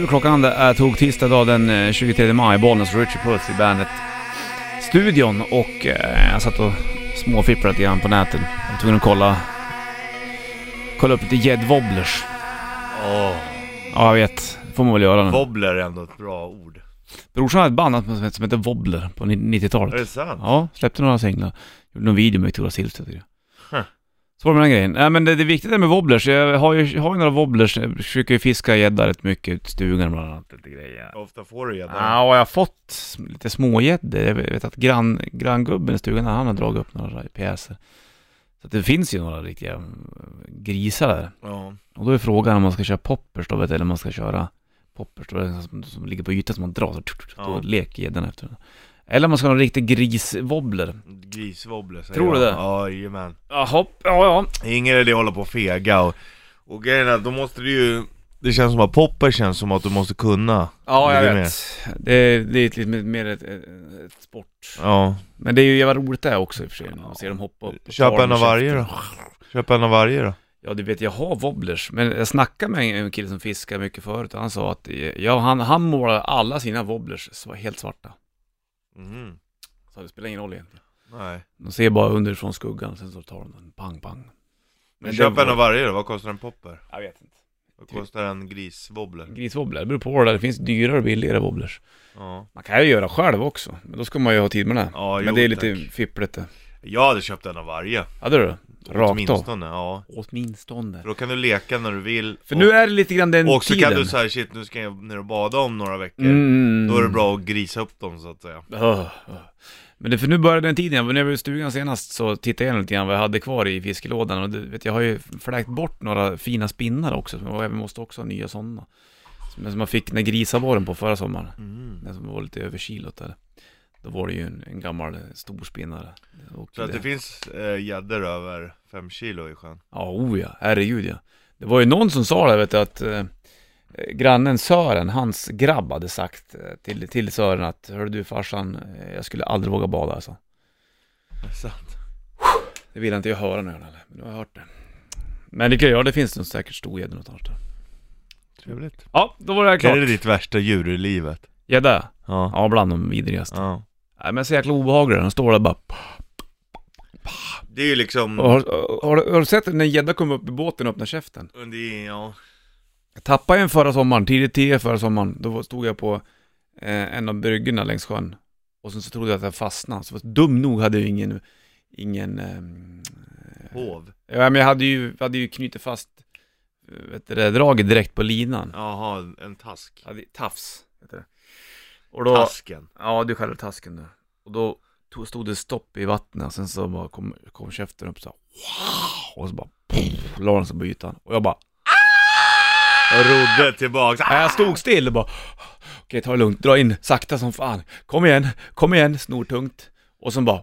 7. Klockan det är tog tisdag idag den eh, 23 maj. Bollnäs Richard Puss i bandet studion och eh, jag satt och småfipplade lite grann på nätet. Jag var tvungen att kolla, kolla upp lite gäddwobblers. Åh, Ja, jag vet. Det får man väl göra nu. Mm. wobbler är ändå ett bra ord. Brorsan hade ett band som hette- som hette Wobbler på ni- Är det 90-talet. sant? Ja, släppte några singlar. Gjorde någon video med Victoria Silvstedt och grejer. Huh. Så var det med den grejen. Nej men det, det viktiga där med wobblers, jag har ju, jag har ju några wobblers, jag försöker ju fiska gädda rätt mycket ut i stugan bland annat. Lite grejer. Hur ofta får du gädda? Ja, och jag har fått sm- lite smågäddor. Jag vet att grann, granngubben i stugan, han har dragit upp några pjäser. Så att det finns ju några riktiga mm, grisar där. Ja. Och då är frågan om man ska köra poppers då, vet du, eller om man ska köra poppers då, eller som, som ligger på ytan som man drar så, tsk, tsk, tsk, då Ja. leker gäddan efter den. Eller om man ska ha en riktig griswobbler. Griswobbler säger Tror du jag. det? Ja, jajamän. Ja, hopp, ja, ja. Det är ingen idé att hålla på och fega och, och grejen är att då måste du ju Det känns som att popper känns som att du måste kunna Ja, Ligger jag med. vet. Det är, det är lite mer ett, ett sport. Ja, Men det är ju jävla roligt det här också i och för sig, när man ser dem hoppa upp. och köp ta dem en av i varje käften. då Köp en av varje då Ja, du vet, jag har wobblers, men jag snackade med en kille som fiskar mycket förut och han sa att eh, ja, han, han målar alla sina wobblers sva- helt svarta. Mm. Mhm. Så det spelar ingen roll egentligen. Nej De ser bara underifrån skuggan, sen så tar de den, pang, pang. Men det köp var- en av varje då, vad kostar en popper? Jag vet inte. Vad kostar en griswobbler? Griswobbler, det beror på vad det är. Det finns dyrare och billigare wobblers. Ja, Man kan ju göra själv också, men då ska man ju ha tid med det. ja men jo, det är lite tack. fippligt det. Jag hade köpt en av varje Hade du? Rakt av. Åtminstone, ja Åtminstone. För då kan du leka när du vill För och, nu är det lite grann den och så tiden. kan du säga shit nu ska jag ner och bada om några veckor Mm. Då är det bra att grisa upp dem så att säga Öh, öh. Men det, för nu började den tiden, när jag var i stugan senast så tittade jag lite grann vad jag hade kvar i fiskelådan och det, vet, jag har ju fläkt bort några fina spinnar också, så jag måste också ha nya sådana. Som, som man fick när grisar var den på förra sommaren, mm. den som var lite överkilot där. Då var det ju en, en gammal eh, stor spinnare. Och Så att det det- finns eh, gäddor över 5 kilo i sjön Ja, oh ja, herregud ja. Det var ju någon som sa det, vet du, att eh, grannen Sören, hans grabb hade sagt eh, till, till Sören att Hör du farsan, eh, jag skulle aldrig våga bada alltså. Är det sant? Det vill jag inte jag höra nu heller, men nu har jag hört det. Men det kan jag, det finns nog säkert storgäddor någonstans där. Trevligt. Ja, då var det här Är klart. det ditt värsta djur i livet? Gädda? Ja. Ja, bland de vidrigaste. ja. Nej men så jäkla obehagliga, de står där bara... Det är ju liksom... Och Har, har, har du sett när en gädda kommer upp i båten och öppnar käften? Det är, ja. Jag tappade en förra sommaren, tidigt tio förra sommaren, då var- stod jag på eh, en av bryggorna längs sjön. Och sen så trodde jag att jag fastnade, så dum nog hade jag ingen, ingen ehm, Hov. Ja men jag hade ju, hade ju knutit fast, eh, vet du det, draget direkt på linan. Jaha, en task. Ja, det, tafs heter det. Och då, Tasken. Ja, du kallar det tasken nu. Och då tog, stod det stopp i vattnet och sen så bara kom, kom käften upp så här, wow! Och så bara pff, la den sig på ytan. Och jag bara, Och rodde tillbaks. nej, jag stod still och bara Okej, ta det lugnt, dra in sakta som fan. Kom igen, kom igen, snortungt. Och sen bara,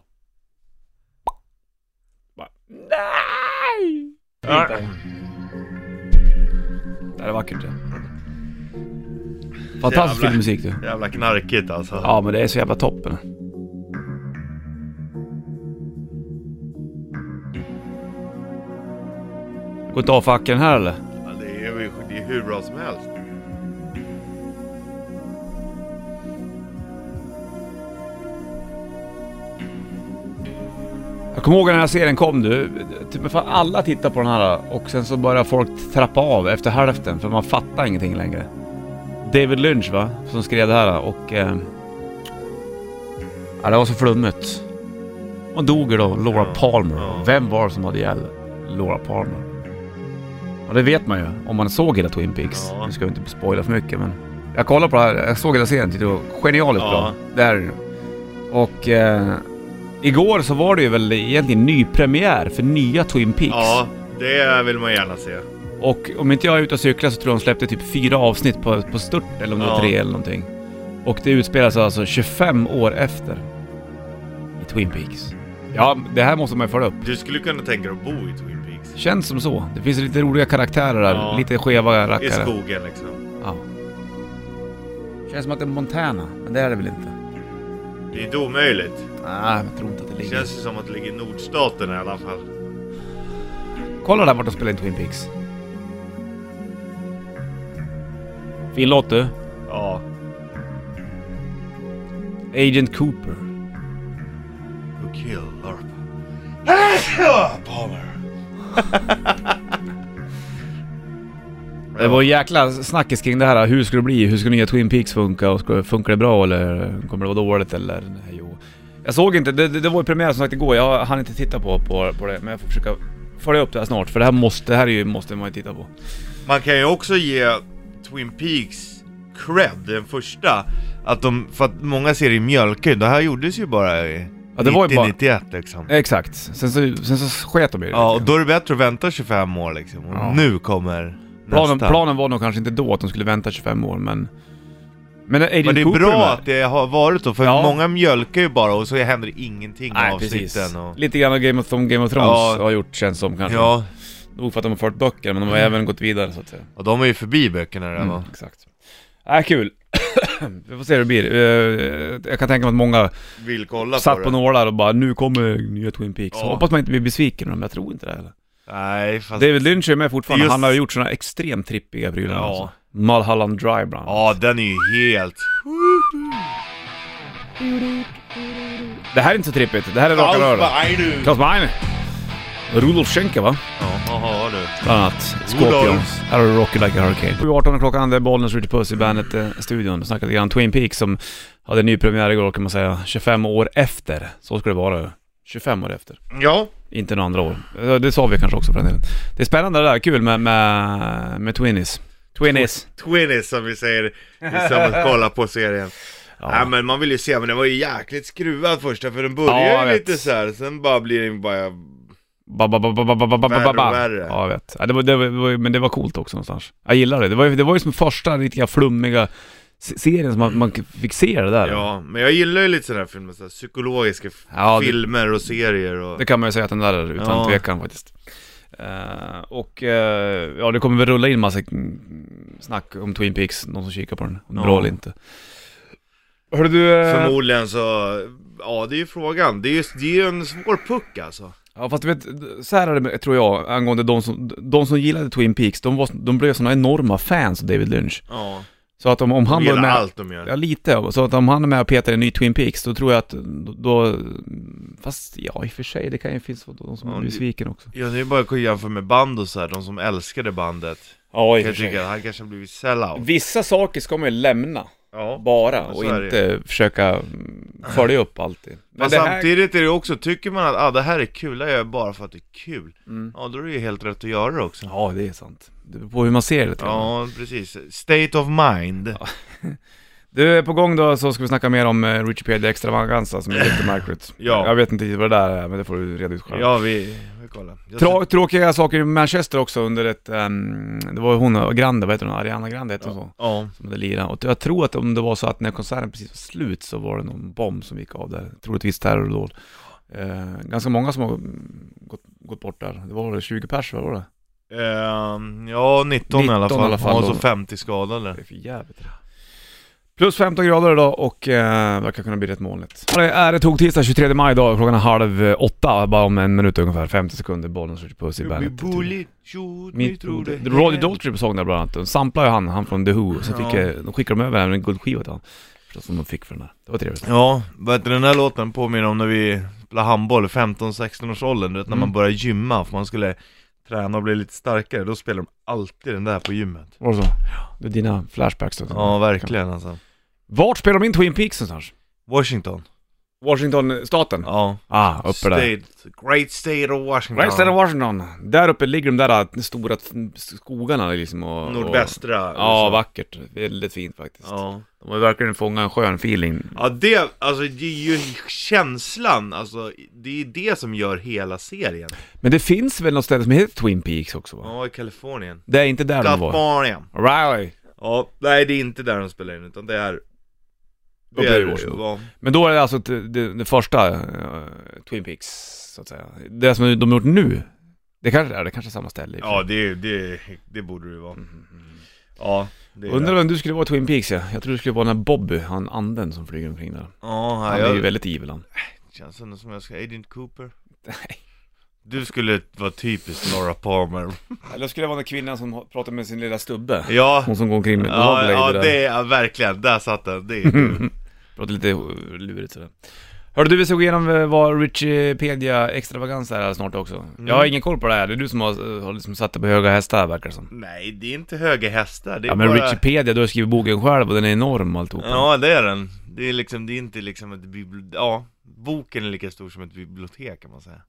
bara nej! Ah. Det här är vackert ja. Fantastisk Jävlar. filmmusik du. Jävla knarkigt alltså. Ja, men det är så jävla toppen. Går inte av facken här eller? Ja, Det är ju det är hur bra som helst. Jag kommer ihåg när den här serien kom du. Typ fan alla tittar på den här och sen så börjar folk trappa av efter hälften för man fattar ingenting längre. David Lynch va? Som skrev det här och... Eh, ja, det var så flummigt. Hon dog ju då, Laura Ja, Palmer. ja. Vem var det som hade ihjäl Laura Palmer? Och det vet man ju om man såg hela Twin Peaks. Ja. Nu ska vi inte spoila för mycket men... Jag kollade på det här, jag såg hela serien, tyckte det var genialiskt Ja. bra. Det här är det. Och... Eh, Igår så var det ju väl egentligen nypremiär för nya Twin Peaks. Ja, det vill man gärna se. Och om inte jag är ute och cyklar så tror jag de släppte typ fyra avsnitt på, på stört, eller om det var Ja. tre eller någonting. Och det utspelar sig alltså 25 år efter. I Twin Peaks. Ja, det här måste man ju följa upp. Du skulle kunna tänka dig att bo i Twin Peaks. Känns som så. Det finns lite roliga karaktärer där, Ja. lite skeva I rackare. skogen liksom. Ja. Känns som att det är Montana, men det är det väl inte? Det är inte omöjligt. Nej, jag tror inte att det Det ligger... känns ju som att det ligger i nordstaten i alla fall. Kolla där vart de spelar in Twin Peaks. Fin låt du. Ja. Agent Cooper. Who kill Larpa? Palmer. Det var en jäkla snackis kring det här. Hur ska det bli? Hur ska nya Twin Peaks funka? Och ska, funkar det bra eller kommer det vara dåligt eller? Nej, jo. Jag såg inte, det, det, det var ju premiär som sagt igår. Jag hann inte titta på, på, på det. Men jag får försöka följa upp det här snart. För det här måste, det här är ju, måste man ju titta på. Man kan ju också ge Twin Peaks cred, den första. Att de, för att många serier mjölkar ju. Det här gjordes ju bara i Ja, det var ju bara... 91 liksom. Exakt. Sen så, sen så sket de i det. Ja, och då är det bättre att vänta 25 år liksom. Och Ja. nu kommer planen, nästa. planen var nog kanske inte då att de skulle vänta 25 år, men... Men Agent Men det är Cooper bra med. att det har varit då, för Ja. många mjölkar ju bara och så händer ingenting med Nej, precis. avsnitten och... Lite grann av Game of, som Game of Thrones Ja. har gjort, känns som kanske. Ja, Mm. Nog för att de har fört böcker, men de har även gått vidare så att säga. och de är ju förbi böckerna redan Mm, exakt. Äh, kul. Vi får se hur det blir. Eh, Jag kan tänka mig att många Vill kolla satt på på det. nålar och bara nu kommer nya Twin Peaks. Ja. Hoppas man inte blir besviken men jag tror inte det heller. Nej, fast... David Lynch är med fortfarande, Just- han har ju gjort sådana extremt trippiga prylar Ja. alltså. Mulholland Drive bland annat. Ja, den är ju helt... Det här är inte så trippigt, det här är raka rör. Alfa, är du? Claes Meine! Rudolf Schenker va? Jaha, du. Bland annat. Scorpion. Rudolf. Här har du Rocky Like a Hurricane. 7.18 klockan, det är Bollnäs Ritchie Puss i Bandet-studion. Vi snackade lite grann Twin Peaks som hade ny premiär igår kan man säga. 25 år efter. Så skulle det vara. 25 år efter. Ja. Inte några andra år. Eh, Det sa vi kanske också för en del. Det är spännande det där, kul med, med, med Twinnies. Twinnies. Twinnies som vi säger i samband kolla på serien. Ja. Nej men man vill ju se, men den var ju jäkligt skruvad första för den börjar Ja, jag ju lite vet. så här. sen bara blir den bara... Ba, ba, ba, ba, ba, ba, ba, ba, Värre ba, och ba. värre. Ja, jag vet. Ja, det var, det var, det var, men det var coolt också någonstans. Jag gillar det. Det var, ju- det var ju som första riktiga flummiga se- serien som man, man fick se det där. Ja, men jag gillar ju lite sådana här filmer, så här, psykologiska f- Ja, det- filmer och serier och... Det kan man ju säga att den där är utan Ja. tvekan faktiskt. Eh, och eh, ja, det kommer väl rulla in massa mm, snack om Twin Peaks, någon som kikar på den. Om det är Ja. Bra eller inte. Hörru du... eh, Förmodligen så, ja det är ju frågan. Det är ju, det är ju en svår puck alltså. Ja fast du vet, så här är det med- tror jag angående de som, de som gillade Twin Peaks, de, var, de blev såna enorma fans av David Lynch. Ja, Så att om, om han de var gillar med... allt de gör. Ja lite, så att om han är med och petar i en ny Twin Peaks, då tror jag att då... Fast ja, i och för sig, det kan ju finnas de som Ja, är det- besviken också. Ja, det är bara att jämföra med band och så här, de som älskade bandet. Ja, Jag tycker att han kanske har blivit sellout. Vissa saker ska man ju lämna. Ja. bara Så och är det inte försöka mm, följa upp alltid. Men det här- samtidigt är det också, tycker man att ah, det här är kul, det här gör jag bara för att det är kul. Mm. Ja, då är det ju helt rätt att göra det också. Ja, det är sant. Det beror på hur man ser det. tror jag. Ja, precis. State of mind. Du, på gång då så ska vi snacka mer om eh, Wikipedia Extravaganza som är lite märkligt. Ja. Jag vet inte riktigt vad det där är, men det får du reda ut själv. Ja, vi, vi kollar. Jag Trå- tråkiga saker i Manchester också under ett, ehm, det var hon, Grande, vad heter hon, Ariana Grande heter hon så, Ja. som hade lirat. Och jag tror att om det var så att när konserten precis var slut så var det någon bomb som gick av där, troligtvis terrordåd. Eh, ganska många som har mm, gått, gått bort där, det var väl 20 pers, vad var det? Ehm, ja, 19, i alla 19 fall. i alla fall och då. så 50 skadade. Det är för jävligt det där. Plus 15 grader idag och eh, verkar kunna bli rätt molnigt. Det är det tog tisdag 23 maj idag, klockan är halv åtta, bara om en minut ungefär, 50 sekunder, bollen skjuter puss i bandet. Min- Roger Daltrey på sång där bland annat, de samplade ju han, han från The Who, så fick, Ja. eh, de skickade de över en guldskiva till han. Förstås, Som de fick för den där. Det var trevligt. Ja, vad heter den här låten påminner om när vi spelade handboll i 15-16 års åldern, du vet när Mm. man började gymma för man skulle träna och bli lite starkare, då spelade de alltid den där på gymmet. Var det så? Det är dina flashbacks då. Ja, verkligen alltså. Vart spelar de in Twin Peaks någonstans? Washington. Washington-staten? Ja. Ah, uppe där. State, great state of Washington. Right side of Washington. Där uppe ligger de där äh, stora t- skogarna liksom och... och- Nordvästra. Ja, USA. vackert. Väldigt fint faktiskt. Ja. De har verkligen fångat en skön feeling. ja, det, alltså det är ju känslan, alltså det är det som gör hela serien. Men det finns väl något ställe som heter Twin Peaks också va? Ja, i Kalifornien. Det är inte där de var? Kalifornien. Riley. Ja, nej det är inte där de spelar in, utan det är... Uppe i Washington. ja. Men då är det alltså t- det, det första eh, Twin Peaks, så att säga. Det som de gjort nu, det kanske är, det kanske är samma ställe. i och för sig. Ja, det, det, det borde det vara. Ja, det är mm. Undrar det. vem du skulle vara i Twin Peaks ja. Jag tror du skulle vara den här Bobby, han anden som flyger omkring där. Ja, Han jag, är ju väldigt evil han. känns ändå som jag ska, Agent Cooper. Du skulle vara typiskt Laura Palmer. Eller skulle det vara den kvinnan som har- pratar med sin lilla stubbe? Ja, Hon som går omkring med ja, Rollerblade ja där. det är ja, verkligen. Där satt den. Det är du. Låter lite eh, lurigt sådär. Hörde du, vi ska gå igenom eh, vad Richipedia extravagans är här snart också. Mm. Jag har ingen koll på det här, det är du som har, eh, har liksom satt dig på höga hästar verkar det som. Nej, det är inte höga hästar. Det är Ja men bara... Richipedia, du har skrivit boken själv och den är enorm alltihopa. Ja, det är den. Det är liksom, det är inte liksom ett bibliotek. Ja, boken är lika stor som ett bibliotek kan man säga.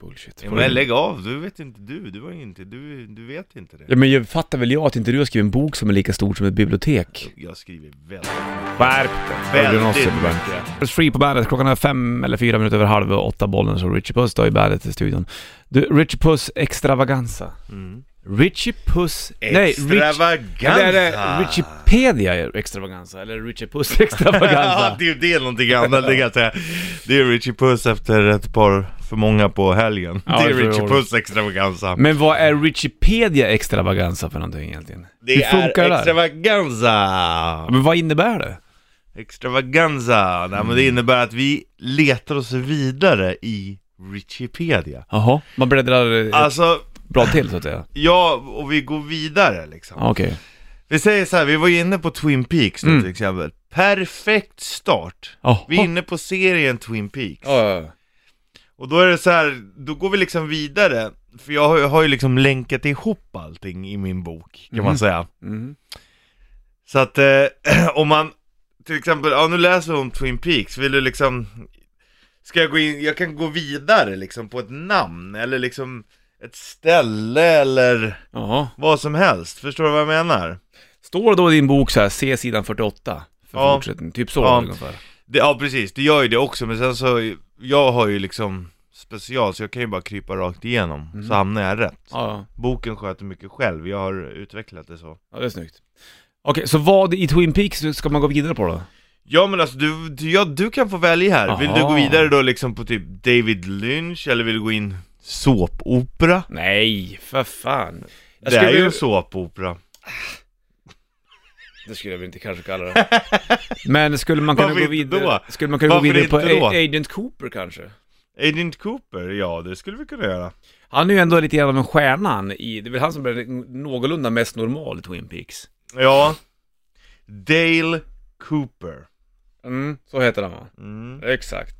Bullshit. Ja, men lägg av, du vet inte du. Du var ju inte, du, du vet inte det. Ja men jag fattar väl jag att inte du har skrivit en bok som är lika stor som ett bibliotek. Jag skriver väldigt, Skärp väldigt dig! mycket. It's free på bandet. Klockan är fem eller fyra minuter över halv och åtta bollen så Richie Puss då i bandet i studion. Du, Richie Puss extravaganza. Mm. Richie Puss... Nej, Rich... Extravaganza! Eller är det Richipedia extravaganza? Eller Richie Puss extravaganza? Ja, det, det är någonting annat, det kan jag säga. Det är Richie Puss efter ett par för många på helgen. Ja, det är det tror Richie jag. Puss extravaganza. men vad är Richipedia extravaganza för någonting egentligen? Det Hur funkar det är där? extravaganza! Ja, Men vad innebär det? Extravaganza, nej men det innebär att vi letar oss vidare i Richipedia. Jaha, man bläddrar eh, Alltså, bra till så att säga. ja, och vi går vidare liksom. Ja, Okej. Vi säger så här, vi var ju inne på Twin Peaks nu Mm. till exempel. Perfekt start. Jaha. Vi är inne på serien Twin Peaks. Ja, ja, ja. Och då är det så här, då går vi liksom vidare. För jag har, jag har ju liksom länkat ihop allting i min bok, kan Mhm. man säga. Mhm. Så att eh, om man, till exempel, ja nu läser vi om Twin Peaks, vill du liksom, ska jag gå in, jag kan gå vidare liksom på ett namn eller liksom ett ställe eller Jaha. vad som helst, förstår du vad jag menar? Står det då i din bok så här, se sidan 48? För Ja. fortsättning, typ så Ja. ungefär. Det, ja precis, det gör ju det också, men sen så, jag har ju liksom special så jag kan ju bara krypa rakt igenom, så hamnar jag rätt. Ja, ja. Boken sköter mycket själv, jag har utvecklat det så. ja, det är snyggt. Okej, så vad i Twin Peaks ska man gå vidare på då? Ja men alltså du, du, ja, du kan få välja här, vill du Aha. gå vidare då liksom på typ David Lynch eller vill du gå in såpopera? Nej, för fan. Jag Det är skulle- ju en såpopera. Det skulle jag väl inte kanske kalla det. Men skulle man kunna Varför gå inte vidare, då? skulle man kunna Varför gå vidare på inte då? A- Agent Cooper kanske? Agent Cooper, ja det skulle vi kunna göra. Han är ju ändå lite grann av en stjärnan i, det är väl han som blev någorlunda mest normal i Twin Peaks. Ja, Dale Cooper. Mm, så heter han va? Mm. Exakt.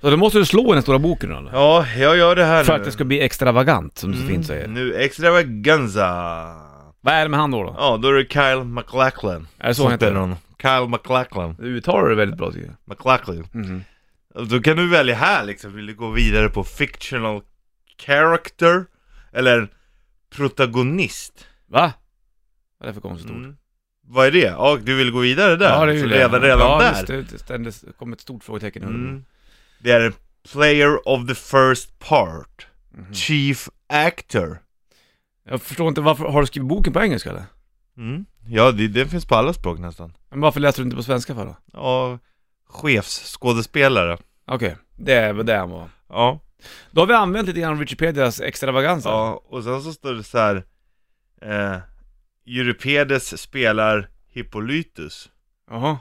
Så då måste du slå i den stora boken då eller? Ja, jag gör det här För nu. att det ska bli extravagant, som du så fint säger. Mm, nu extravaganza. Vad är det med han då? då? Ja, då är det Kyle MacLachlan. Är det så han heter? hon. Kyle MacLachlan. Du uttalar det väldigt bra tycker jag. MacLachlan. Mhm. Då kan du välja här liksom, vill du gå vidare på fictional character eller protagonist? Va? Vad är det för konstigt ord? Mm. Vad är det? Ja, du vill gå vidare där? ju Så Redan, redan ja, där? just det, det, ständes- det kom ett stort frågetecken mm. Mm. Det är en player of the first part, chief actor. Jag förstår inte, varför, har du skrivit boken på engelska eller? Mm. Ja, det, det finns på alla språk nästan. Men varför läser du inte på svenska för då? Ja, chefsskådespelare. Okej, det är väl det han var. Ja. Då har vi använt lite grann Wikipedias extravaganser. ja. Och sen så står det så här. Eh, Euripedes spelar Hippolytus. Jaha.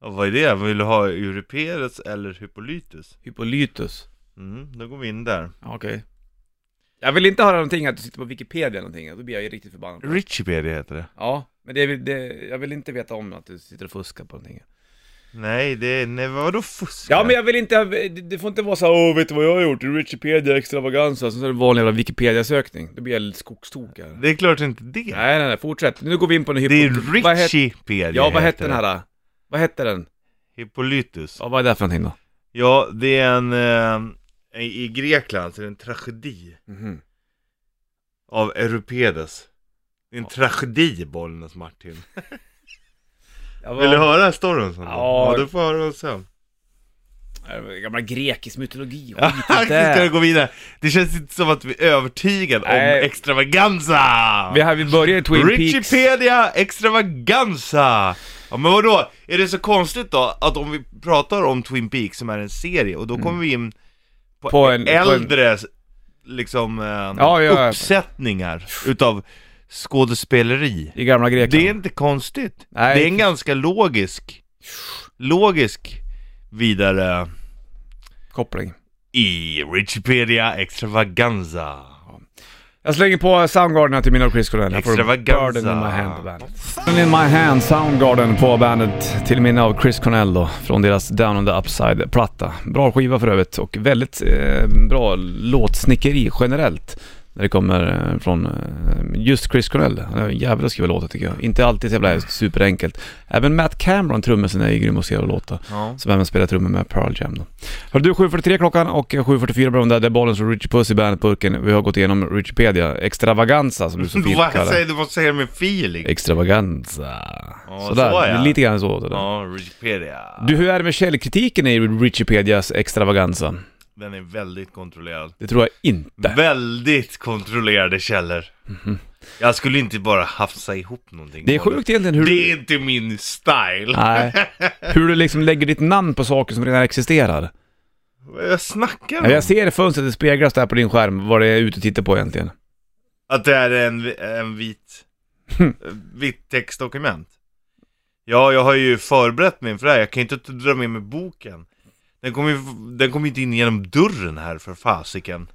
Ja, vad är det? Vill du ha Euripedes eller Hippolytus? Hypolytus. Mm, då går vi in där. Ja, Okej. Jag vill inte höra någonting att du sitter på Wikipedia eller någonting, då blir jag ju riktigt förbannad. Richipedia heter det. Ja, men det, är väl- det, jag vill inte veta om att du sitter och fuskar på någonting. Nej, det är, nej vadå fuska? Ja men jag vill inte, det- det får inte vara så här, åh vet du vad jag har gjort? Wikipedia extravaganza, sen så är det vanlig jävla Wikipedia-sökning. Då blir jag lite skogstokig här. Det är klart inte det. Nej nej nej, fortsätt. Nu går vi in på en Det är hypo- vad het- Richipedia Ja vad hette heter den det. här då? Vad hette den? Hippolytus. Ja, vad är det för någonting då? Ja, det är en... Eh, I i Grekland så är det en tragedi Mhm. av Euripedes. Det är en tragedi, Bollnäs Martin. Ja, Vill du höra storyn sen? då? Ja. ja du får höra den sen. höra? Eh, Gammal grekisk mytologi, skit i det. Ska du gå vidare? Det känns inte som att vi är övertygade Nej. om extravaganza! Vi, här, vi börjar i Twin Peaks. Richipedia extravaganza! Ja men vadå, är det så konstigt då att om vi pratar om Twin Peaks som är en serie och då Mm. kommer vi in på, På en- på en- äldre liksom eh, ja, ja. uppsättningar utav skådespeleri. I gamla Grekland. Det är inte konstigt. Nej. Det är en ganska logisk, logisk vidare Koppling. i Richipedia Extravaganza. Jag slänger på Soundgarden till mina och Chris Cornell. Här får du Extravaganza. Burden in my hand på bandet. Burden in my hand, Soundgarden på bandet. Till minne av Chris Cornell då, från deras Down on the Upside-platta. Bra skiva för övrigt och väldigt eh, bra låtsnickeri generellt. När det kommer eh, från eh, just Chris Cornell. Han är en jävla att skriva låtar tycker jag. Inte alltid så jävla superenkelt. Även Matt Cameron, trummisen, är ju grym att skriva låtar. Ja. Som även spelar trummor med Pearl Jam då. Hör du, 7.43 klockan och 7.44 på där, där bollen så Richie Puss i Bandet-burken. Vi har gått igenom Richipedia, extravaganza som du så fint Vad kallar säger det. du? Vad säger du med feeling? Extravaganza. Ja, sådär, så, ja. lite grann så. Sådär. Ja, Wikipedia. Du, hur är det med källkritiken i Richipedias extravaganza? Den är väldigt kontrollerad. Det tror jag inte. Väldigt kontrollerade källor. Jag skulle inte bara hafsa ihop någonting. Det är på det. sjukt Ah. egentligen hur Det du, är inte min style. nej, hur du liksom lägger ditt namn på saker som redan existerar. Vad Jag snackar om. Jag ser i fönstret, det speglas där på din skärm, vad det är ute och tittar på egentligen. Att det är en, en vit, Hm. eh, vitt textdokument. Ja, jag har ju förberett mig inför det här. Jag kan ju inte dra med mig boken. Den kommer ju den kommer ju inte in genom dörren här för fasiken.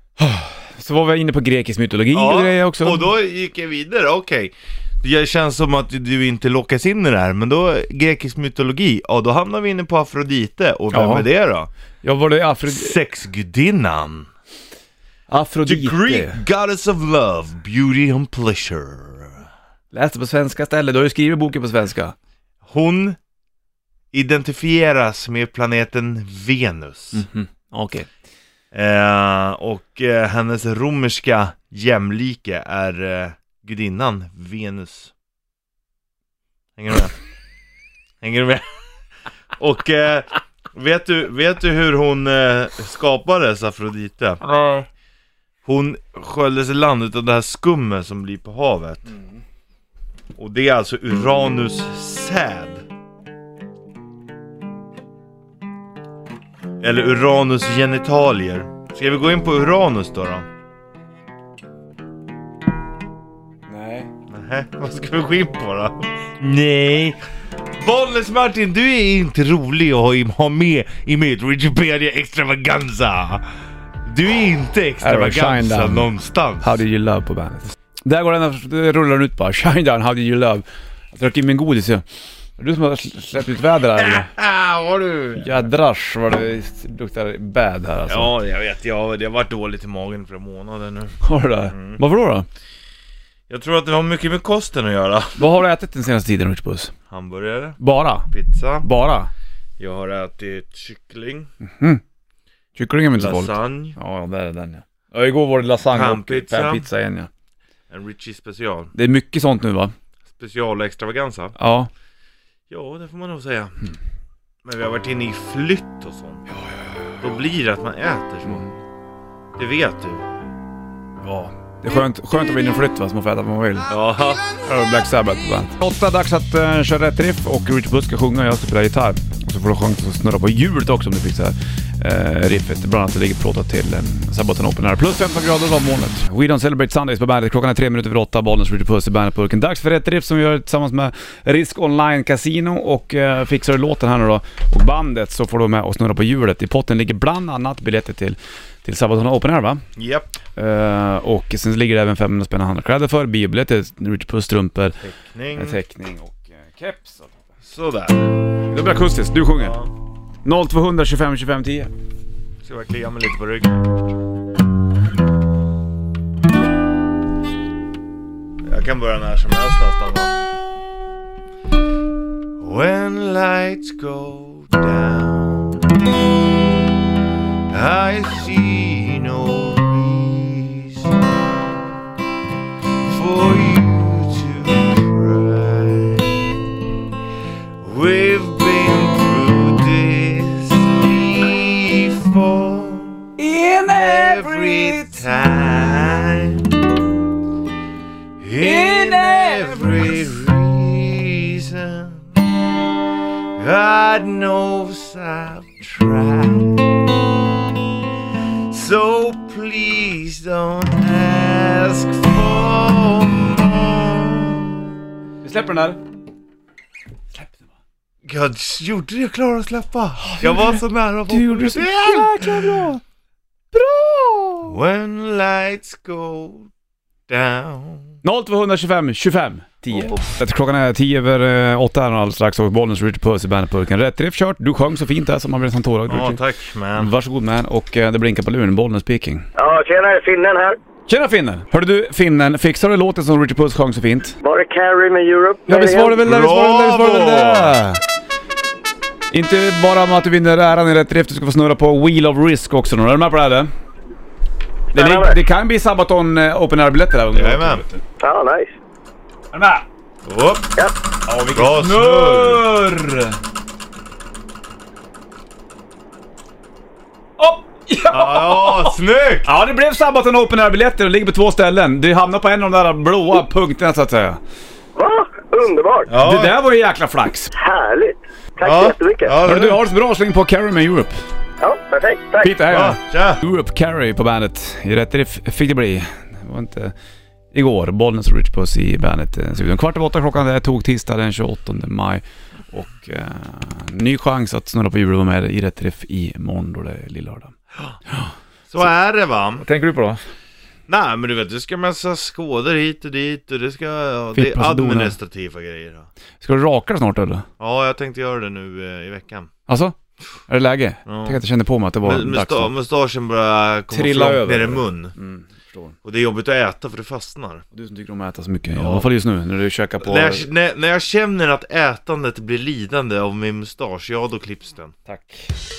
Så var vi inne på grekisk mytologi och grejer också. och då gick jag vidare, okej. Det känns som att du inte lockas in i det här, men då grekisk mytologi, ja då hamnar vi inne på Afrodite, och vem Ja. är det då? Jag var det Afro... Sexgudinnan. The Afrodite. Greek goddess of love, beauty and pleasure. Läste på svenska istället, du har ju skrivit boken på svenska. Hon identifieras med planeten Venus. Okej. Eh, och eh, hennes romerska jämlike är eh, gudinnan Venus. Hänger du med? Hänger du med? Och eh, vet, du, vet du hur hon eh, skapades, Afrodite? Hon sköljdes i land utav det här skummet som blir på havet. Och det är alltså Uranus säd. Eller Uranus genitalier. Ska vi gå in på Uranus då? då? Nej. Nähä, vad ska vi gå in på då? Nej. Bollnäs Martin, du är inte rolig att ha- ha med i mitt Wikipedia extravaganza. Du är inte shine extravaganza down. någonstans. How do you love på bandet. Där går den, här- det rullar den ut bara. Shine down, how do you love. Jag drack in min godis ju. Är Du som har sl- släppt ut väder här eller? Ah, vad du... Jädrars vad det luktar bad här alltså. Ja, jag vet. Jag, det har varit dåligt i magen för månader nu. Har du det? Varför då, då? Jag tror att det har mycket med kosten att göra. Vad har du ätit den senaste tiden Richbus? Hamburgare, Bara? pizza, Bara? jag har ätit kyckling, Kycklingen är inte så farligt. lasagne, Ja, där är den ja. ja igår var det lasagne Panpizza. och panpizza igen ja. en Richie special. Det är mycket sånt nu va? Special och extravaganza. Ja. Ja, det får man nog säga. Mm. Men vi har varit inne i flytt och sånt. Då blir det att man äter så. Mm. Det vet du. Ja. Det är skönt, skönt att vinna flytt va, så man får äta vad man vill. Ja. Här har vi Black Sabbath på bandet. Åtta, dags att eh, köra rätt riff och Richard Buss ska sjunga och jag ska spela gitarr. Och så får du chansen att snurra på hjulet också om du fixar eh, riffet. Bland annat det ligger plåtat till eh, Sabaton Open här. Plus 15 grader var molnet. We Don't Celebrate Sundays på bandet. Klockan är tre minuter över åtta. Bollnäs Richard Puss i bandetburken. Dags för rätt riff som vi gör tillsammans med Risk Online Casino. Och eh, fixar du låten här nu då och bandet så får du med och snurra på hjulet. I potten ligger bland annat biljetter till, till Sabaton Open här va? Japp. Eh, och sen ligger det även 500 spänn i handkläder för, biobiljetter, Richard Puss-strumpor. Teckning. En teckning och eh, keps. Sådär. Det blir akustiskt, du sjunger. Ja. 0200 25 25 10. Ska bara klia mig lite på ryggen. Jag kan börja när som helst nästan va? When lights go down I see no reason for you to cry We've been through this before. In every time. In every reason. God knows I've tried. So please don't ask for more. Vi släpper den där. Släpp den bara. Jag gjorde det, jag klarade att släppa. Jag var så nära att Du gjorde det så jäkla bra. When lights go down 0225 25 10. Oh. Oh. Klockan är 10 över eh, 8 här alldeles strax och Bollnäs Richard Puss i bandetburken. Rätt riff kört. Du sjöng så fint där som man blev nästan tårögd Ja, Richard. tack man. Varsågod man och eh, det blinkar på luren. Bollnäs speaking. Ja, tjena, finnen här. Tjena finnen! Hörde du finnen, fixar du låten som Richard Puss sjöng så fint? Var det Carrie med Europe? Ja visst var det väl det, visst var det väl det, visst var det väl det! Inte bara med att du vinner äran i rätt drift, du ska få snurra på Wheel of Risk också. Är du med på det här eller? Det, Spännande. lig- det kan bli Sabaton eh, Open Air-biljetter där under Jajamän. året. Ja, nice. Är du med? Upp. Ja. Ja, vilken Bra snurr! Upp! Ja. Ja, snyggt! ja, det blev Sabaton Open Air-biljetter. De ligger på två ställen. Du hamnar på en av de där blåa punkterna så att säga. Va? Underbart. Ja. Det där var ju jäkla flax. Härligt. Tack Ja. så jättemycket. Ja, Hörru du, har det så bra. Släng på Carrie med Europe. Ja, perfekt. Tack. Peter, hej Ja, då. tja! Europe Carrie på bandet. I rätt riff fick det bli. Det var inte igår. Bollnäs och Rich Puss i bandet. eh, studion. Kvart över åtta klockan. Det här tog tisdag den 28 maj. Och eh, ny chans att snurra på hjulet och vara med i rätt riff imorgon då det är lillördag. Så är det va? Vad tänker du på då? Nej men du vet, det ska massa skådor hit och dit och det ska... Ja, det är Fippa och donar. administrativa grejer. då. Ska du raka dig snart eller? Ja, jag tänkte göra det nu eh, i veckan. Alltså? Är det läge? Ja. Tänk att jag kände på mig att det var Men dags. musta- mustaschen börjar komma Trilla Trilla över. ner i mun. Mm, förstår. Och det är jobbigt att äta för det fastnar. Du som tycker om att äta så mycket, Ja. i alla fall just nu när du käkar på... När jag, när, när jag känner att ätandet blir lidande av min mustasch, ja då klipps den. Tack.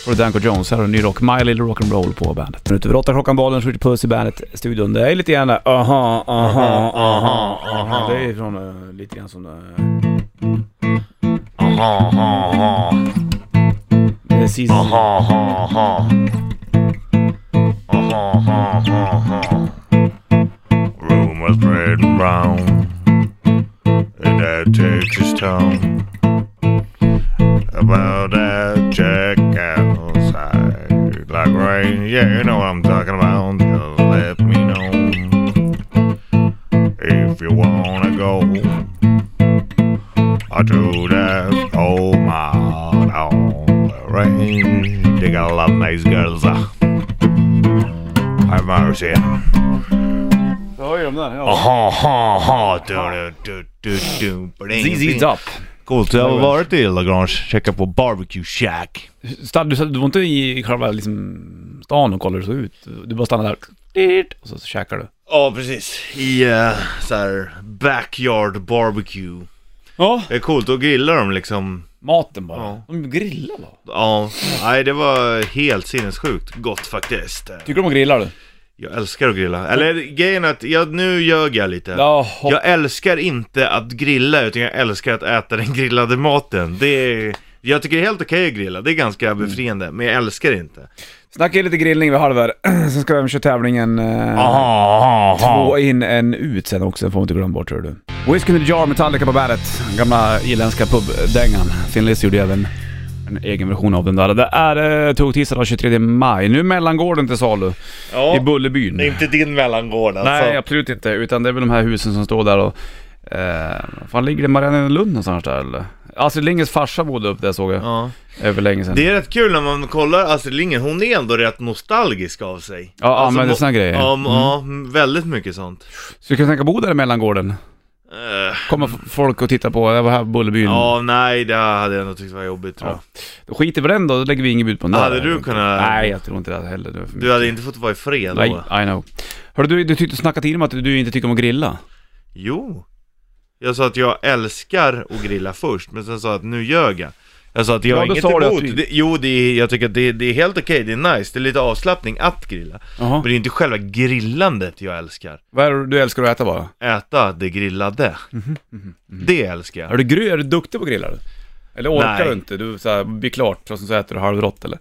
Får du Danko Jones, här har du ny rock, My Little Rock'n'Roll på bandet. Minut över åtta klockan, bollen skjuter puss i bandet-studion. Det är lite grann aha, aha, aha, aha, aha. Det är från eh, lite grann som Aha, aha, aha. uh, precis. Aha, aha, aha. Aha, aha, aha, aha. Rumors spread around. And that takes its toll. About that check outside. Like rain, yeah, you know what I'm talking about. Just let me know. If you wanna go. I do that, oh my, on the rain. They got a lot of nice girls. ah. Have mercy. Det var ju de där, ja. Aha, ha, ha, du, du, du, du, bling, ZZ bling. Top. Coolt, jag har varit i Lagrange, checkat på Barbecue Shack. Stann- Du, du var inte i själva liksom, stan och kollade hur det såg ut? Du bara stannade där Tirt. och så, så käkade du? Ja, precis. I uh, så här backyard barbecue. Ja. Det är coolt, då grillar de liksom. Maten bara. Ja. De grillar bara. Ja, nej det var helt sinnessjukt gott faktiskt. Tycker du om att grilla du? Jag älskar att grilla. Eller grejen är att, jag, nu ljög jag lite. Ja. Jag älskar inte att grilla, utan jag älskar att äta den grillade maten. Det är, jag tycker det är helt okej att grilla, det är ganska Mm. befriande, men jag älskar det inte. Snacka lite grillning vid halv här. Sen ska vi köra tävlingen... eh, Aha, Två in, en ut sen också, får man inte glömma bort hör du. Whiskey in the Jar, Metallica på bandet. Gamla irländska pubdängan. Thin Lizzy gjorde även en egen version av den där. Det är eh, tog tisdag den 23 maj. Nu är mellangården till salu i Ja, Bullerbyn. det är inte din mellangård alltså. Nej, absolut inte. Utan det är väl de här husen som står där och... Eh, fan ligger det Mariannelund någonstans där eller? Astrid Lindgrens farsa bodde upp där såg jag. Ja. Ja. Över länge sedan. Det är rätt kul när man kollar Astrid Lindgren, hon är ändå rätt nostalgisk av sig. Alltså, Ja, använder må- såna grejer. Mm. Ja, m- ja, väldigt mycket sånt. Så du kan tänka bo där i mellangården? Eh, Kommer f- folk och titta på, det var här på Bullerbyn. Ja, nej, det hade jag nog tyckt var jobbigt tror jag. Då skiter vi i den då, då lägger vi inget bud på den Hade du kunnat- Nej, jag tror inte det heller. Det var för Du hade inte fått vara i fred mycket. då? Nej, I know. Hörru du, du tyckte snacka till om att du inte tycker om att grilla. Jo. Jag sa att jag älskar att grilla först, men sen sa jag att nu ljög jag. Jag sa att jag Ja, har då inget sa du att emot. du- Det, jo, det är, jag tycker att det, det är helt okej, det är nice, det är lite avslappning att grilla. Jaha. Men det är inte själva grillandet jag älskar. Vad är det du älskar att äta bara? Äta det grillade. Mhm, Det älskar jag. Är du, gry, är du duktig på att grilla? du? Eller orkar Nej. du inte? Du så här, blir klart och sen så äter du halvrått eller?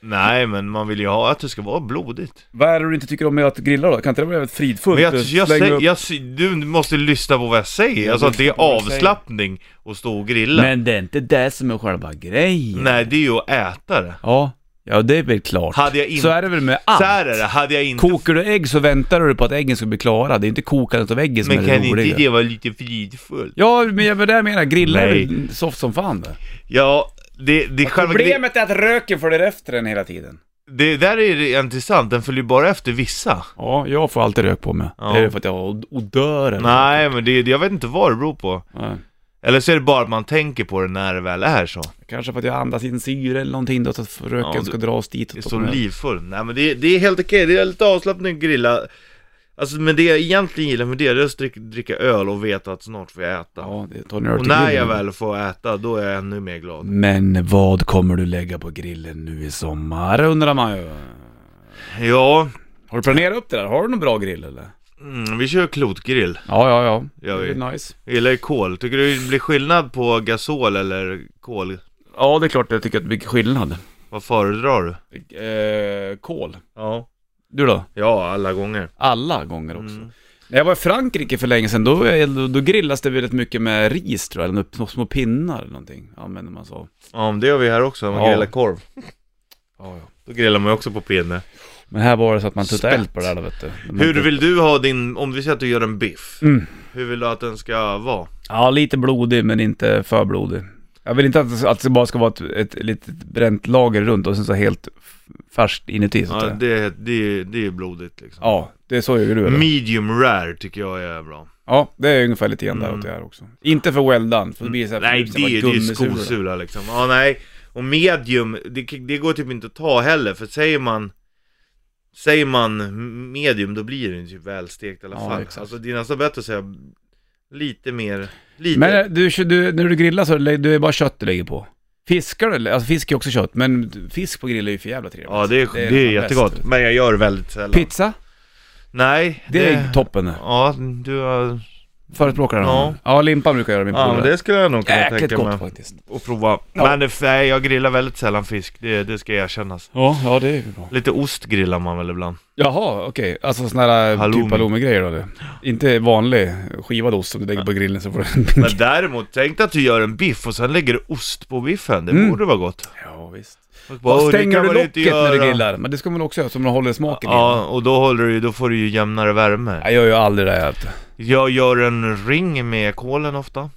Nej, men man vill ju ha att det ska vara blodigt. Vad är det du inte tycker om med att grilla då? Kan inte det vara väldigt fridfullt? Men jag, Du jag, jag, slänger säger- upp- jag, säger- du måste lyssna på vad jag säger. Jag sa att det är lyssnar på vad du säger. avslappning att stå och grilla. Men det är inte det som är själva grejen. Nej, det är ju att äta det. Ja, ja det är väl klart. Hade jag inte... Så är det väl med allt. Så här är det, hade jag inte Kokar du ägg så väntar du på att äggen ska bli klara. Det är inte kokandet av äggen som Men är det kan roliga. inte det vara lite fridfullt? Ja, men jag men det jag menar, grilla är Nej. väl soft som fan det. Ja, det, det är själva gre- Problemet är att röken följer efter den hela tiden. det där är det intressant, den följer bara efter vissa. Ja, jag får alltid rök på mig. Ja. Det är för att jag har od- odörer. Nej, men det, det- jag vet inte vad det beror på. Nej. Eller så är det bara att man tänker på det när det väl är så. Kanske för att jag andas in syre eller någonting då, så att röken Ja, du- ska dras dit. Det är och så livfull. Nej men det, det är helt okej, det är lite avslappnad att grilla. Alltså men det jag egentligen gillar med det, det är att dricka, dricka öl och veta att snart får jag äta. Ja, det tar en öl och till när jag grillen. väl får äta, då är jag ännu mer glad. Men vad kommer du lägga på grillen nu i sommar, undrar man ju. Ja, Har du planerat upp det där? Har du någon bra grill eller? mm, vi kör klotgrill. Ja, ja, ja. Gör det vi. är nice. Jag gillar ju kol. Tycker du det blir skillnad på gasol eller kol? Ja, det är klart jag tycker att det blir skillnad. Vad föredrar du? Eh, kol. Ja. Du då? Ja, alla gånger. Alla gånger också. Mm. När jag var i Frankrike för länge sedan, då, då, då grillas det väldigt mycket med ris tror jag, eller små- små pinnar eller någonting, använder man så. Ja, men det gör vi här också. Man Ja. grillar korv. Ja, ja. Då grillar man ju också på pinne. Men här var det så att man tuttade Spett. eld på det där då, vet du. Man Hur vill du ha din, om vi säger att du gör en biff. Mm. Hur vill du att den ska vara? Ja, lite blodig men inte för blodig. Jag vill inte att, att det bara ska vara ett, ett litet bränt lager runt och sen så helt f- färskt inuti så att Ja, säga. det, det, det är ju blodigt liksom. Ja, det är så gör du eller? Medium rare tycker jag är bra. Ja, det är ungefär lite grann där åt det här också. Inte för well done, för det blir så här, Mm. Nej, för det, det är ju skosula liksom. Ja, nej. Och medium, det, det går typ inte att ta heller, för säger man Säger man medium, då blir den typ välstekt i alla Ja, fall. exakt. Alltså det är nästan bättre att säga lite mer, lite. Men eh, du, du, när du grillar så lä- du är det bara kött du lägger på. Fiskar du? eller? Alltså fisk är också kött, men fisk på grill är ju för jävla trevligt. ja, det är, det är, nästan jättegott. bäst. Men jag gör väldigt sällan. Pizza, nej. det är toppen. Ja, du har... Förespråkar den. Ja. Ja. ja, limpan brukar jag göra min Ja, men polare. det skulle jag nog kunna Jäkligt tänka gott mig. faktiskt. Och prova. Men det- nej, jag grillar väldigt sällan fisk, det, det ska erkännas. Ja, ja det är ju bra. Lite ost grillar man väl ibland. Jaha, okej. Alltså sådana här Halloumi. typ halloumi-grejer då eller? Inte vanlig skivad ost som du lägger på grillen så får du... Men däremot, tänk dig att du gör en biff och sen lägger du ost på biffen, det Mm. borde vara gott. ja, visst. Och bara, "Åh, Och det stänger kan du man inte locket när du göra." grillar? Men det ska man också göra, så man håller smaken i. Ja, och då, håller du, ju- då får du ju jämnare värme. Jag gör ju aldrig det här. vet du. Jag gör en ring med kolen ofta.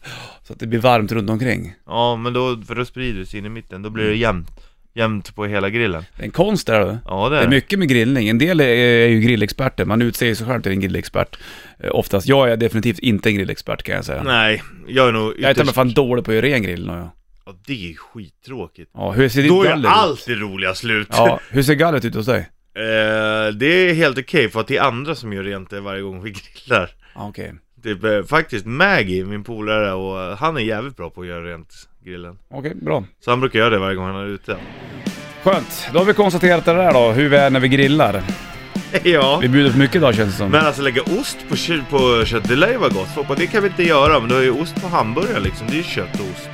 Så att det blir varmt runt omkring. Ja, men då, för då sprider det sig in i mitten, då blir Mm. det jämnt. Jämnt på hela grillen. Det är en konst där du. Ja, det Det är är det. mycket med grillning. En del är, är ju grillexperter. Man utser sig själv till en grillexpert. Eh, Oftast. Jag är definitivt inte en grillexpert kan jag säga. Nej, jag är nog jag är till och med ytterst- fan dålig på att göra ren grill. nu, Ja. Ja, det är skittråkigt. Ja, hur ser ditt Då är galler ut? allt det roliga slut. Ja, hur ser gallret ut hos dig? Eh, det är helt okej för att det är andra som gör rent det varje gång vi grillar. Ja, okej. Typ eh, faktiskt Maggie, min polare, och eh, han är jävligt bra på att göra rent grillen. Okej, bra. Så han brukar göra det varje gång han är ute. Skönt. Då har vi konstaterat det där då, hur vi är när vi grillar. ja. Vi bjuder på mycket idag känns det som. Men alltså lägga ost på, kö- på kött, det lär ju vara gott. Folk bara, det kan vi inte göra, men du har ju ost på hamburgare liksom. Det är ju kött och ost.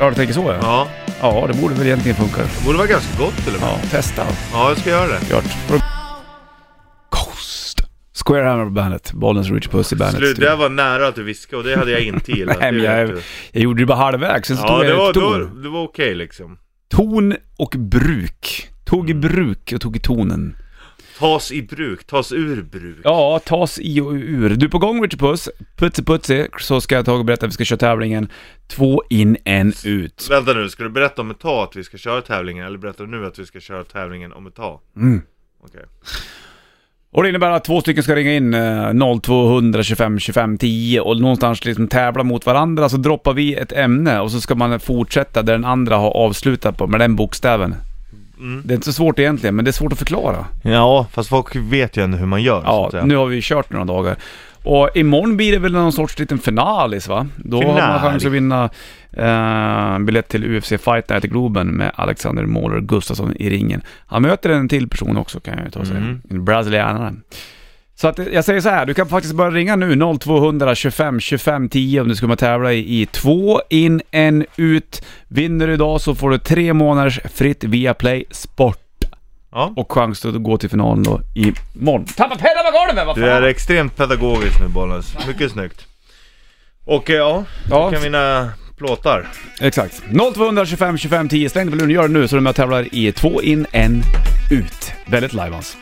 Ja, du tänker så ja. Ja, Ja, det borde väl egentligen funka. det borde vara ganska gott till och med. Ja, testa. Ja, jag ska göra det. Gört. Ghost. Square Hammer Bandet. Bollens Rich Pussy Bandet. Slut, det där var nära att du viskade och det hade jag inte gillat. Nej, men det jag, vet du. jag gjorde det bara halvvägs, sen så Ja, tog det jag var, ett då, ton. det var okej liksom. Ton och bruk. Tog Mm. i bruk och tog i tonen. Tas i bruk, tas ur bruk. Ja, tas i och ur. Du är på gång Richard Puss. Putsi putsi, så ska jag ta och berätta att vi ska köra tävlingen två in, en ut. Vänta nu, ska du berätta om ett tag att vi ska köra tävlingen eller berättar du nu att vi ska köra tävlingen om ett tag? Mm. Okej. Och det innebär att två stycken ska ringa in eh, 0200 25 25 10 och någonstans liksom tävla mot varandra. Så droppar vi ett ämne och så ska man fortsätta där den andra har avslutat på, med den bokstäven. Mm. Det är inte så svårt egentligen, men det är svårt att förklara. Ja, fast folk vet ju ändå hur man gör. Ja, nu har vi ju kört några dagar. Och imorgon blir det väl någon sorts liten finalis va? Då har man Finale. chans att vinna eh, en biljett till UFC Fight Night i Globen med Alexander Måler Gustafsson i ringen. Han möter en till person också kan jag ju ta och säga. Mhm. En brasilianare. Så att eh, jag säger så här, du kan faktiskt börja ringa nu 0200 25 25 10 om du ska med och tävla i, i två in, en ut. Vinner du idag så får du tre månaders fritt via Play Sport Ja. och chans att gå till finalen då imorgon. Tappa pennan på golvet, vad fan! Du är extremt pedagogisk nu Bollnäs, mycket snyggt. Och eh, ja, Ja. ja. kan vinna plåtar. Exakt. 0225 25 10. Släng dig på luren, gör det nu så du är med och tävlar i två in, en ut. Väldigt live hans.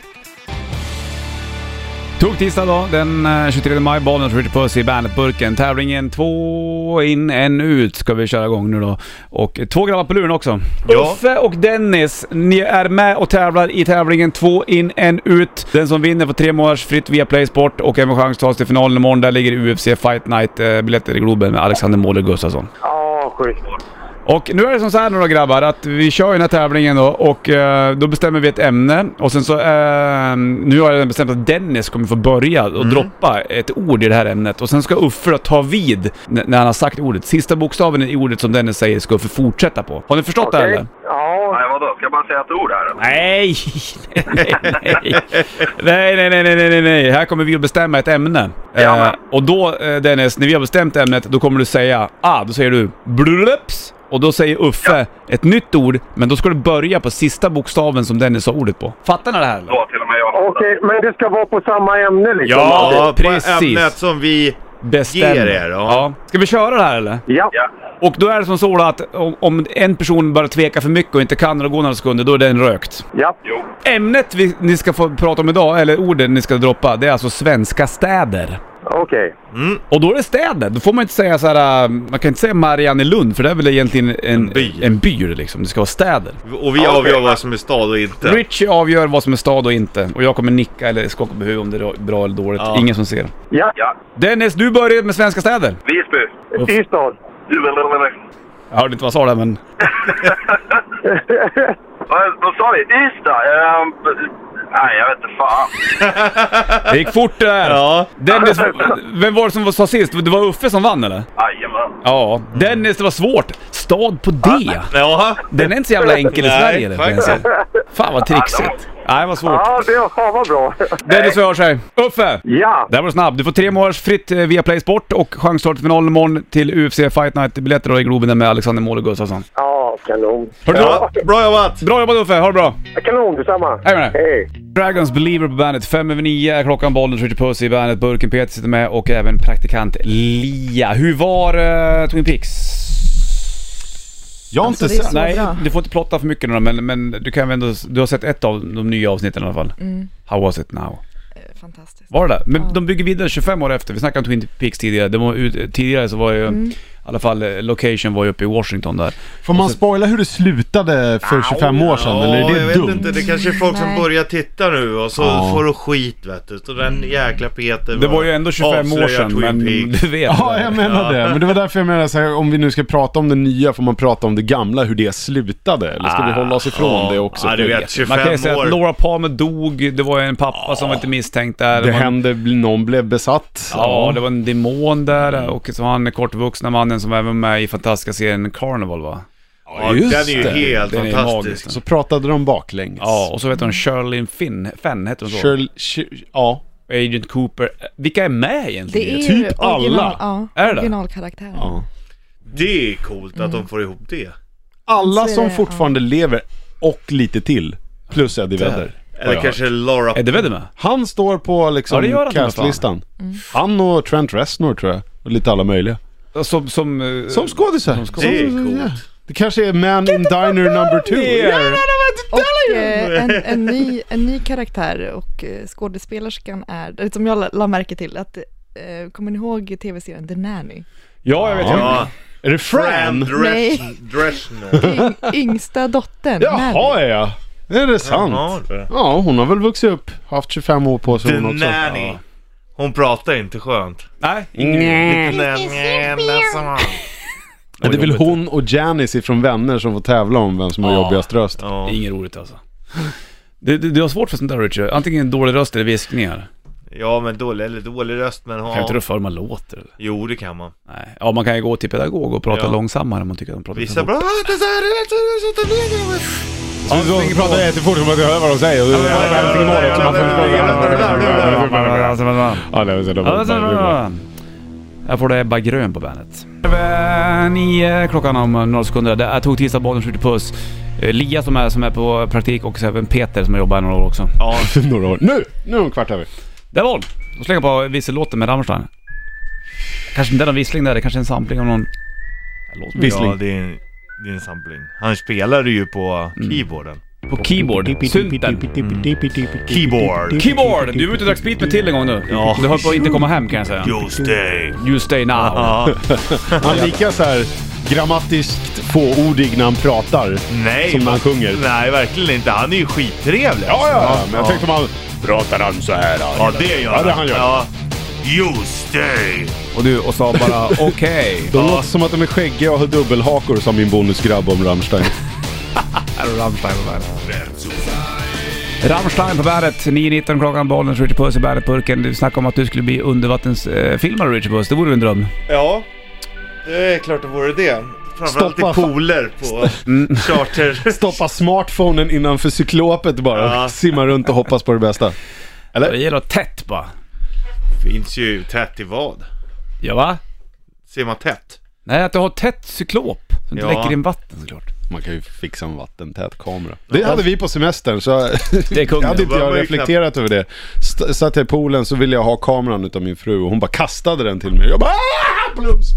Tog tisdag då, den eh, 23 maj, Bollnäs Richard Puss i Bandetburken. Tävlingen två in, en ut ska vi köra igång nu då. Och eh, två grabbar på luren också. Ja. Uffe och Dennis, ni är med och tävlar i tävlingen två in, en ut. Den som vinner får tre månaders fritt via Playsport och även chans att ta sig till finalen imorgon. Där ligger UFC Fight Night-biljetter i Globen med Alexander Måler Gustafsson. Ja, schysst. Och nu är det som så här nu då grabbar, att vi kör ju den här tävlingen då och eh, då bestämmer vi ett ämne och sen så... Eh, nu har jag bestämt att Dennis kommer få börja och droppa ett ord i det här ämnet och sen ska Uffe då ta vid n- när han har sagt ordet. Sista bokstaven i ordet som Dennis säger ska Uffe fortsätta på. Har ni förstått det här Okej. eller? Ja, Nej, vadå? Ska jag bara säga ett ord här? eller? Nej, nej, nej, nej, nej, nej, nej, nej, nej, nej, här kommer vi att bestämma ett ämne. Ja, men. Eh, och då eh, Dennis, när vi har bestämt ämnet, då kommer du säga, ah, då säger du blups och då säger Uffe ett nytt ord, men då ska du börja på sista bokstaven som Dennis sa ordet på. Fattar ni det här eller? Då till och med jag fattar. okej. Men det ska vara på samma ämne liksom? Ja. alltid. på precis. ämnet som vi... Bestämmer. Ger er, ja. ja. Ska vi köra det här eller? Ja. Ja. Och då är det som så då att om, om en person bara tvekar för mycket och inte kan eller går några sekunder, då är den rökt. Ja. Jo. Ämnet vi, ni ska få prata om idag, eller orden ni ska droppa, det är alltså svenska städer. Okej. Och då är det städer. Då får man inte säga så här. äh, man kan inte säga Mariannelund för det är väl egentligen en, en by. En by liksom. Det ska vara städer. Och vi Ja, okej. avgör vad som är stad och inte. Richie avgör vad som är stad och inte. Och jag kommer nicka eller skaka på huvudet om det är bra eller dåligt. Ja. Ingen som ser. Ja. Ja. Dennis, du börjar med svenska städer. Visby. Ystad. Jag hörde inte vad jag sa där men... Vad vad sa vi? Ystad? Ehm, Nej, jag vet inte fan. Det gick fort det där. Ja. Dennis, vem var det som sa sist? Det var Uffe som vann eller? Jajamän. Ja. Dennis, det var svårt. Stad på D. Jaha. Den är inte så jävla enkel i Nej, Sverige. eller, får jag faktiskt. säga. Fan vad trixigt. Nej, vad svårt. Ja, det fan vad bra. Dennis, vi hörs här. Uffe! Ja. Där var du snabb. Du får tre månaders fritt eh, via Play Sport och chans till final imorgon till UFC Fight Night-biljetter då i Globen med Alexander Måhl och Gustafsson. Ja, kanon. Hörde Ja, bra jobbat! du? Bra jobbat Uffe, ha det bra! Kanon, detsamma. Hej med dig. Hej. Dragons Believer på bandet, fem över nio, klockan bollen, skjuter puss i bandet, burken Peter sitter med och även praktikant Lia. Hur var eh, Twin Peaks? Jag har inte Alltså, det är sett. så- Nej, bra. du får inte plotta för mycket nu då, men, men du kan väl ändå, du har sett ett av de nya avsnitten i alla fall. Mm. How was it now? Fantastiskt. Var det där? Men Ja. de bygger vidare 25 år efter. Vi snackade om Twin Peaks tidigare. Det var ut, tidigare så var ju, Mm. i alla fall eh, location var ju uppe i Washington där. Får man spoila hur det slutade för 25 år sedan? eller är jag det vet dumt? inte. Det kanske är folk som Nej. börjar titta nu och så Ja. får du skit vet du. Så den jäkla Peter Det var ju ändå 25 år avslöjar sedan, Twin men Peaks. du vet. Ja, det. jag menar det. Men det var därför jag menar så här, om vi nu ska prata om det nya, får man prata om det gamla, hur det slutade? Eller Ah, ska vi hålla oss ifrån Ja. det också? Ja, du vet. Man kan ju 25 säga år. att Laura Palmer dog, det var ju en pappa som var inte misstänkt där. Det Man- hände, någon blev besatt. Ja, det var en demon där eh, och så var han den kortvuxna mannen som även var med i fantastiska serien Carnival va? Ja, Just den är ju det. helt Den är fantastisk. magisk. Så pratade de baklänges. Ja, och så vet hon Shirley Finn, Fenn heter hon så? Shirley, Shir- ja. Agent Cooper. Eh, Vilka är med egentligen? Det är Typ ju original, alla. ja, Är det det? originalkaraktärer. ja. det är coolt att de får ihop det. Alla Så är som det, fortfarande lever, och lite till, plus Eddie Vedder. Eller kanske Laura... Är det väl det med? Han står på Ja, liksom det gör han, castlistan. Han och Trent Reznor tror jag. Och lite alla möjliga. Som... Som, eh, Som skådisar. Det är coolt. Det kanske är Man in Diner number two. here. Och eh, en, en, ny, en ny karaktär och eh, skådespelerskan är, som jag la, la märke till, att eh, Kommer ni ihåg tv-serien The Nanny? Ja, jag vet. Ja. Ja, Är det Fran Fran? Nej. Dres- Dresner. Yng, yngsta dottern, Jaha Nanny. ja. Är det Jaha, sant? det. Ja, hon har väl vuxit upp. Haft 25 år på sig The hon också. Nanny. Hon pratar inte skönt. Nej, Nej. Det är väl jobbigt. hon och Janice ifrån Vänner som får tävla om vem som har Ja. jobbigast röst. Ja. Inget roligt alltså. Du, du, du har svårt för sånt där Richard. Antingen dålig röst eller viskningar. ja, men dålig, eller dålig röst men Kan inte ha... du för hur man låter eller? Jo, det kan man. Nej. Ja, man kan ju gå till pedagog och prata Ja. långsammare om man tycker att de pratar Vissa "Ah, för bra... Så de pratar jättefort så man inte hör vad de säger. Ja, det är så dumt. Jag får det Ebba Grön på bandet. Över Nio klockan om några sekunder. Det är tog tisdag, bollen skjuter puss. Eh, Lia som är, som är på praktik och så även Peter som har jobbat här några år också. Ja, Några år. Nu! Nu är hon kvart över. Där var hon! Då slänger jag på vissellåten med Rammstein. Kanske inte är någon vissling där, det kanske är en sampling av någon... Låt mig- Vissling. Mm. ja det, är en, det är en sampling. Han spelade ju på keyboarden. På keyboard. Synten. Mm. Keyboard. Keyboard! Du var ute och drack sprit med till en gång nu. Ja. Du höll på att inte komma hem kan jag säga. Just det. You stay now. Ja. Han är lika så här grammatiskt fåordig när han pratar. Nej. Som man sjunger. Nej, verkligen inte. Han är ju skittrevlig. Ja, ja, ja. Men jag Ja. tänkte om han... Pratar han så här? då? Ja, det gör Ja, det han gör. Ja. Just det. Och du, och sa bara okej. De låter som att de är skäggiga och har dubbelhakor, sa min bonusgrabb om Rammstein. Rammstein på bandet. Rammstein på bandet. 9.19 klockan, bollen, Richard Puss i bandetburken. Du snackade om att du skulle bli undervattensfilmare Richard Puss. Det vore ju en dröm. Ja, det är klart det vore det. Framförallt Stoppa i fa- pooler på charter. Stoppa smartphonen innanför cyklopet bara. Ja. Simma runt och hoppas på det bästa. Det gäller att tätt bara. Finns ju tätt i vad? Ja, va? Simmar tätt. Nej, att du har tätt cyklop. Så det Ja. inte läcker in vatten såklart. Man kan ju fixa en vattentät kamera. Det hade vi på semestern så Det är kungen. jag hade inte Då var jag man ju reflekterat över det. St- satt jag i poolen så ville jag ha kameran utav min fru och hon bara kastade den till mig. Jag bara "Ah, plums!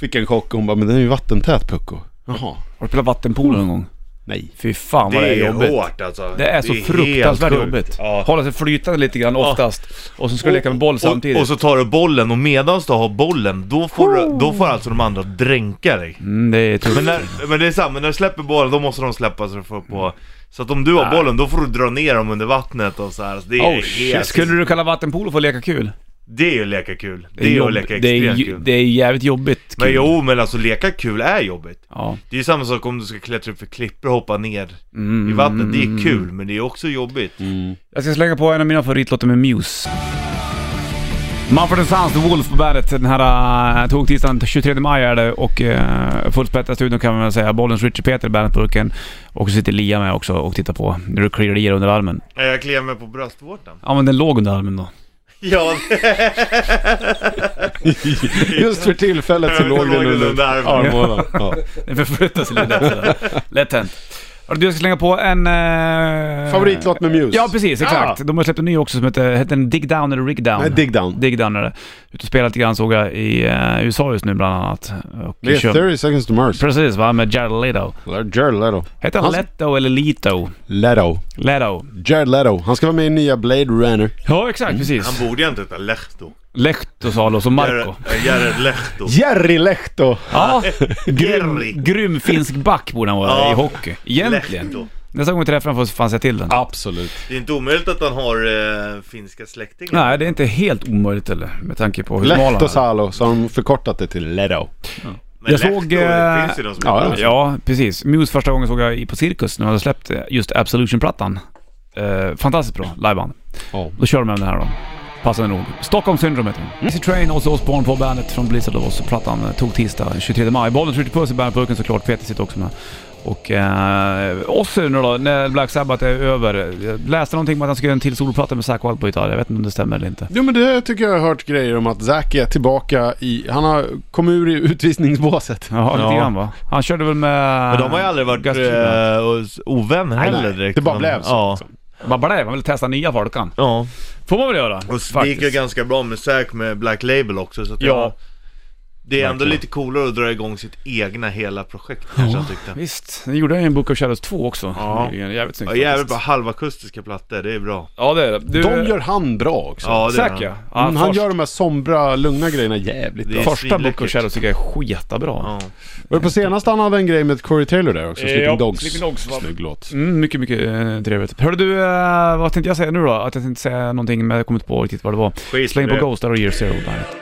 Fick en chock och hon bara men den är ju vattentät Pucko. Jaha. Har du spelat vattenpolo någon gång? Nej. Fy fan Mm. Det vad det är, är jobbigt. hårt alltså. Det är så helt fruktansvärt sjukt. jobbigt. Ja. Hålla sig flytande lite grann oftast. Och så ska du leka med boll samtidigt. Och, och så tar du bollen och medans du har bollen, då får, du, då får alltså de andra dränka dig. Oh. mm, det är tufft. Men, när, men det är samma, när du släpper bollen då måste de släppa så du får på... Så att om du har bollen då får du dra ner dem under vattnet och så här. Så det är Ah. Oh, shit. Skulle du kalla vattenpolo för att leka kul? Det är ju att leka kul. Det är ju att jobb- leka det är, extremt ju- kul. Det är jävligt jobbigt Men kul. jo, men alltså leka kul är jobbigt. Ja. Det är ju samma sak om du ska klättra upp för klippor och hoppa ner Mm, i vattnet. Det är kul, men det är också jobbigt. Jag ska slänga på en av mina favoritlåtar med Muse. Mumford Sons, The Wolf på bandet. Den här uh, tog-tisdagen 23 maj är det och uh, fullspättad studion kan man väl säga. Bollens Richie Peter i bandetburken. Och så sitter Lia med också och tittar på när du kliar i dig under armen. Ja, Eh, Jag kliar mig på bröstvårtan. Ja men den låg under armen då. Ja, Just för tillfället så Jag låg den under armen. armhålan. Ja. Den förflyttar sig lite där. Lätt hänt. Hörru, Du, jag ska slänga på en... eh, Favoritlåt med Muse. Ja precis, exakt. De har släppt en ny också som heter, heter den Dig Down eller Rig Down? Nej, Dig Down. Dig Down är det. Ute och spelar lite grann såg jag i eh, USA just nu bland annat. Och Det är kör- 30 seconds to Mars. Precis va, med Jared Leto. Jared Leto. Heter han Hans- Leto eller Lito? Leto. Leto. Jared Leto. Han ska vara med i nya Blade Runner. Ja exakt, precis. Han borde ju inte heta Lehto. Lehto Salos och Marco. Jared- Jared Lehto. Jerry Lehto. Ja, Jerry. grym, grym finsk back borde han vara Ja. i hockey. Egentligen. Lehto. Nästa gång vi träffar honom får fan säga till den. Absolut. Det är inte omöjligt att han har eh, finska släktingar. Nej, det är inte helt omöjligt eller med tanke på hur smal han Lehto är. Salo, så har de förkortat det till Leto. Men jag Lehto, såg, Det eh, finns ju de som ja, heter det. Ja, precis. Muse första gången såg jag i- på Cirkus när de hade släppt eh, just Absolution-plattan. Eh, fantastiskt bra liveband. Ja. Då kör de med den här då. Passande nog. Stockholm Syndrome heter Mm. den. Easy Train och så Osbourne på bandet från Blizzard of Oz-plattan. eh, Tog tisdag 23 maj. Bollen skjuter puss i bandburken såklart. Peter sitter också med. Och eh, oss nu då, när Black Sabbath är över. Jag läste någonting om att han ska göra en till soloplatta med Zack Wild på gitarr. Jag vet inte om det stämmer eller inte. Jo men det tycker jag har hört grejer om att Zac är tillbaka i... Han har kommit ur i utvisningsbåset. Jaha, lite Ja. grann va? Han körde väl med... Men de har ju aldrig varit Gus eh, ovän heller nej. direkt. Det bara Men- blev så, Ja. liksom. Man bara det, man vill testa nya folk kan. ja. Får man väl göra. Och det gick ju ganska bra med Zack med Black Label också så att Ja. jag, Det är ändå lite coolare att dra igång sitt egna hela projekt kanske jag tyckte Visst, den gjorde jag ju en Book of Shadows 2 också. Ja. Nyligen. Jävligt snyggt Ja jävligt faktiskt. bra, halvakustiska plattor, det är bra Ja det är det. Du, De gör han bra också. Ja det är Zack han. ja. ja Mm, han först- gör de här sombra, lugna grejerna jävligt Det bra. är Första Book of svinläckert. Shadows tycker jag är skitbra. Ja. Var det på senaste han hade en grej med Corey Taylor där också? Eh, Sleeping ja, Dogs. Sleeping Dogs var- Snygg låt. Mm, mycket, mycket eh, trevligt. Hörde du, eh, vad tänkte jag säga nu då? Att jag tänkte säga någonting men jag kom inte på riktigt vad det var. Skit i Släng på det. Ghost där och Year Zero där.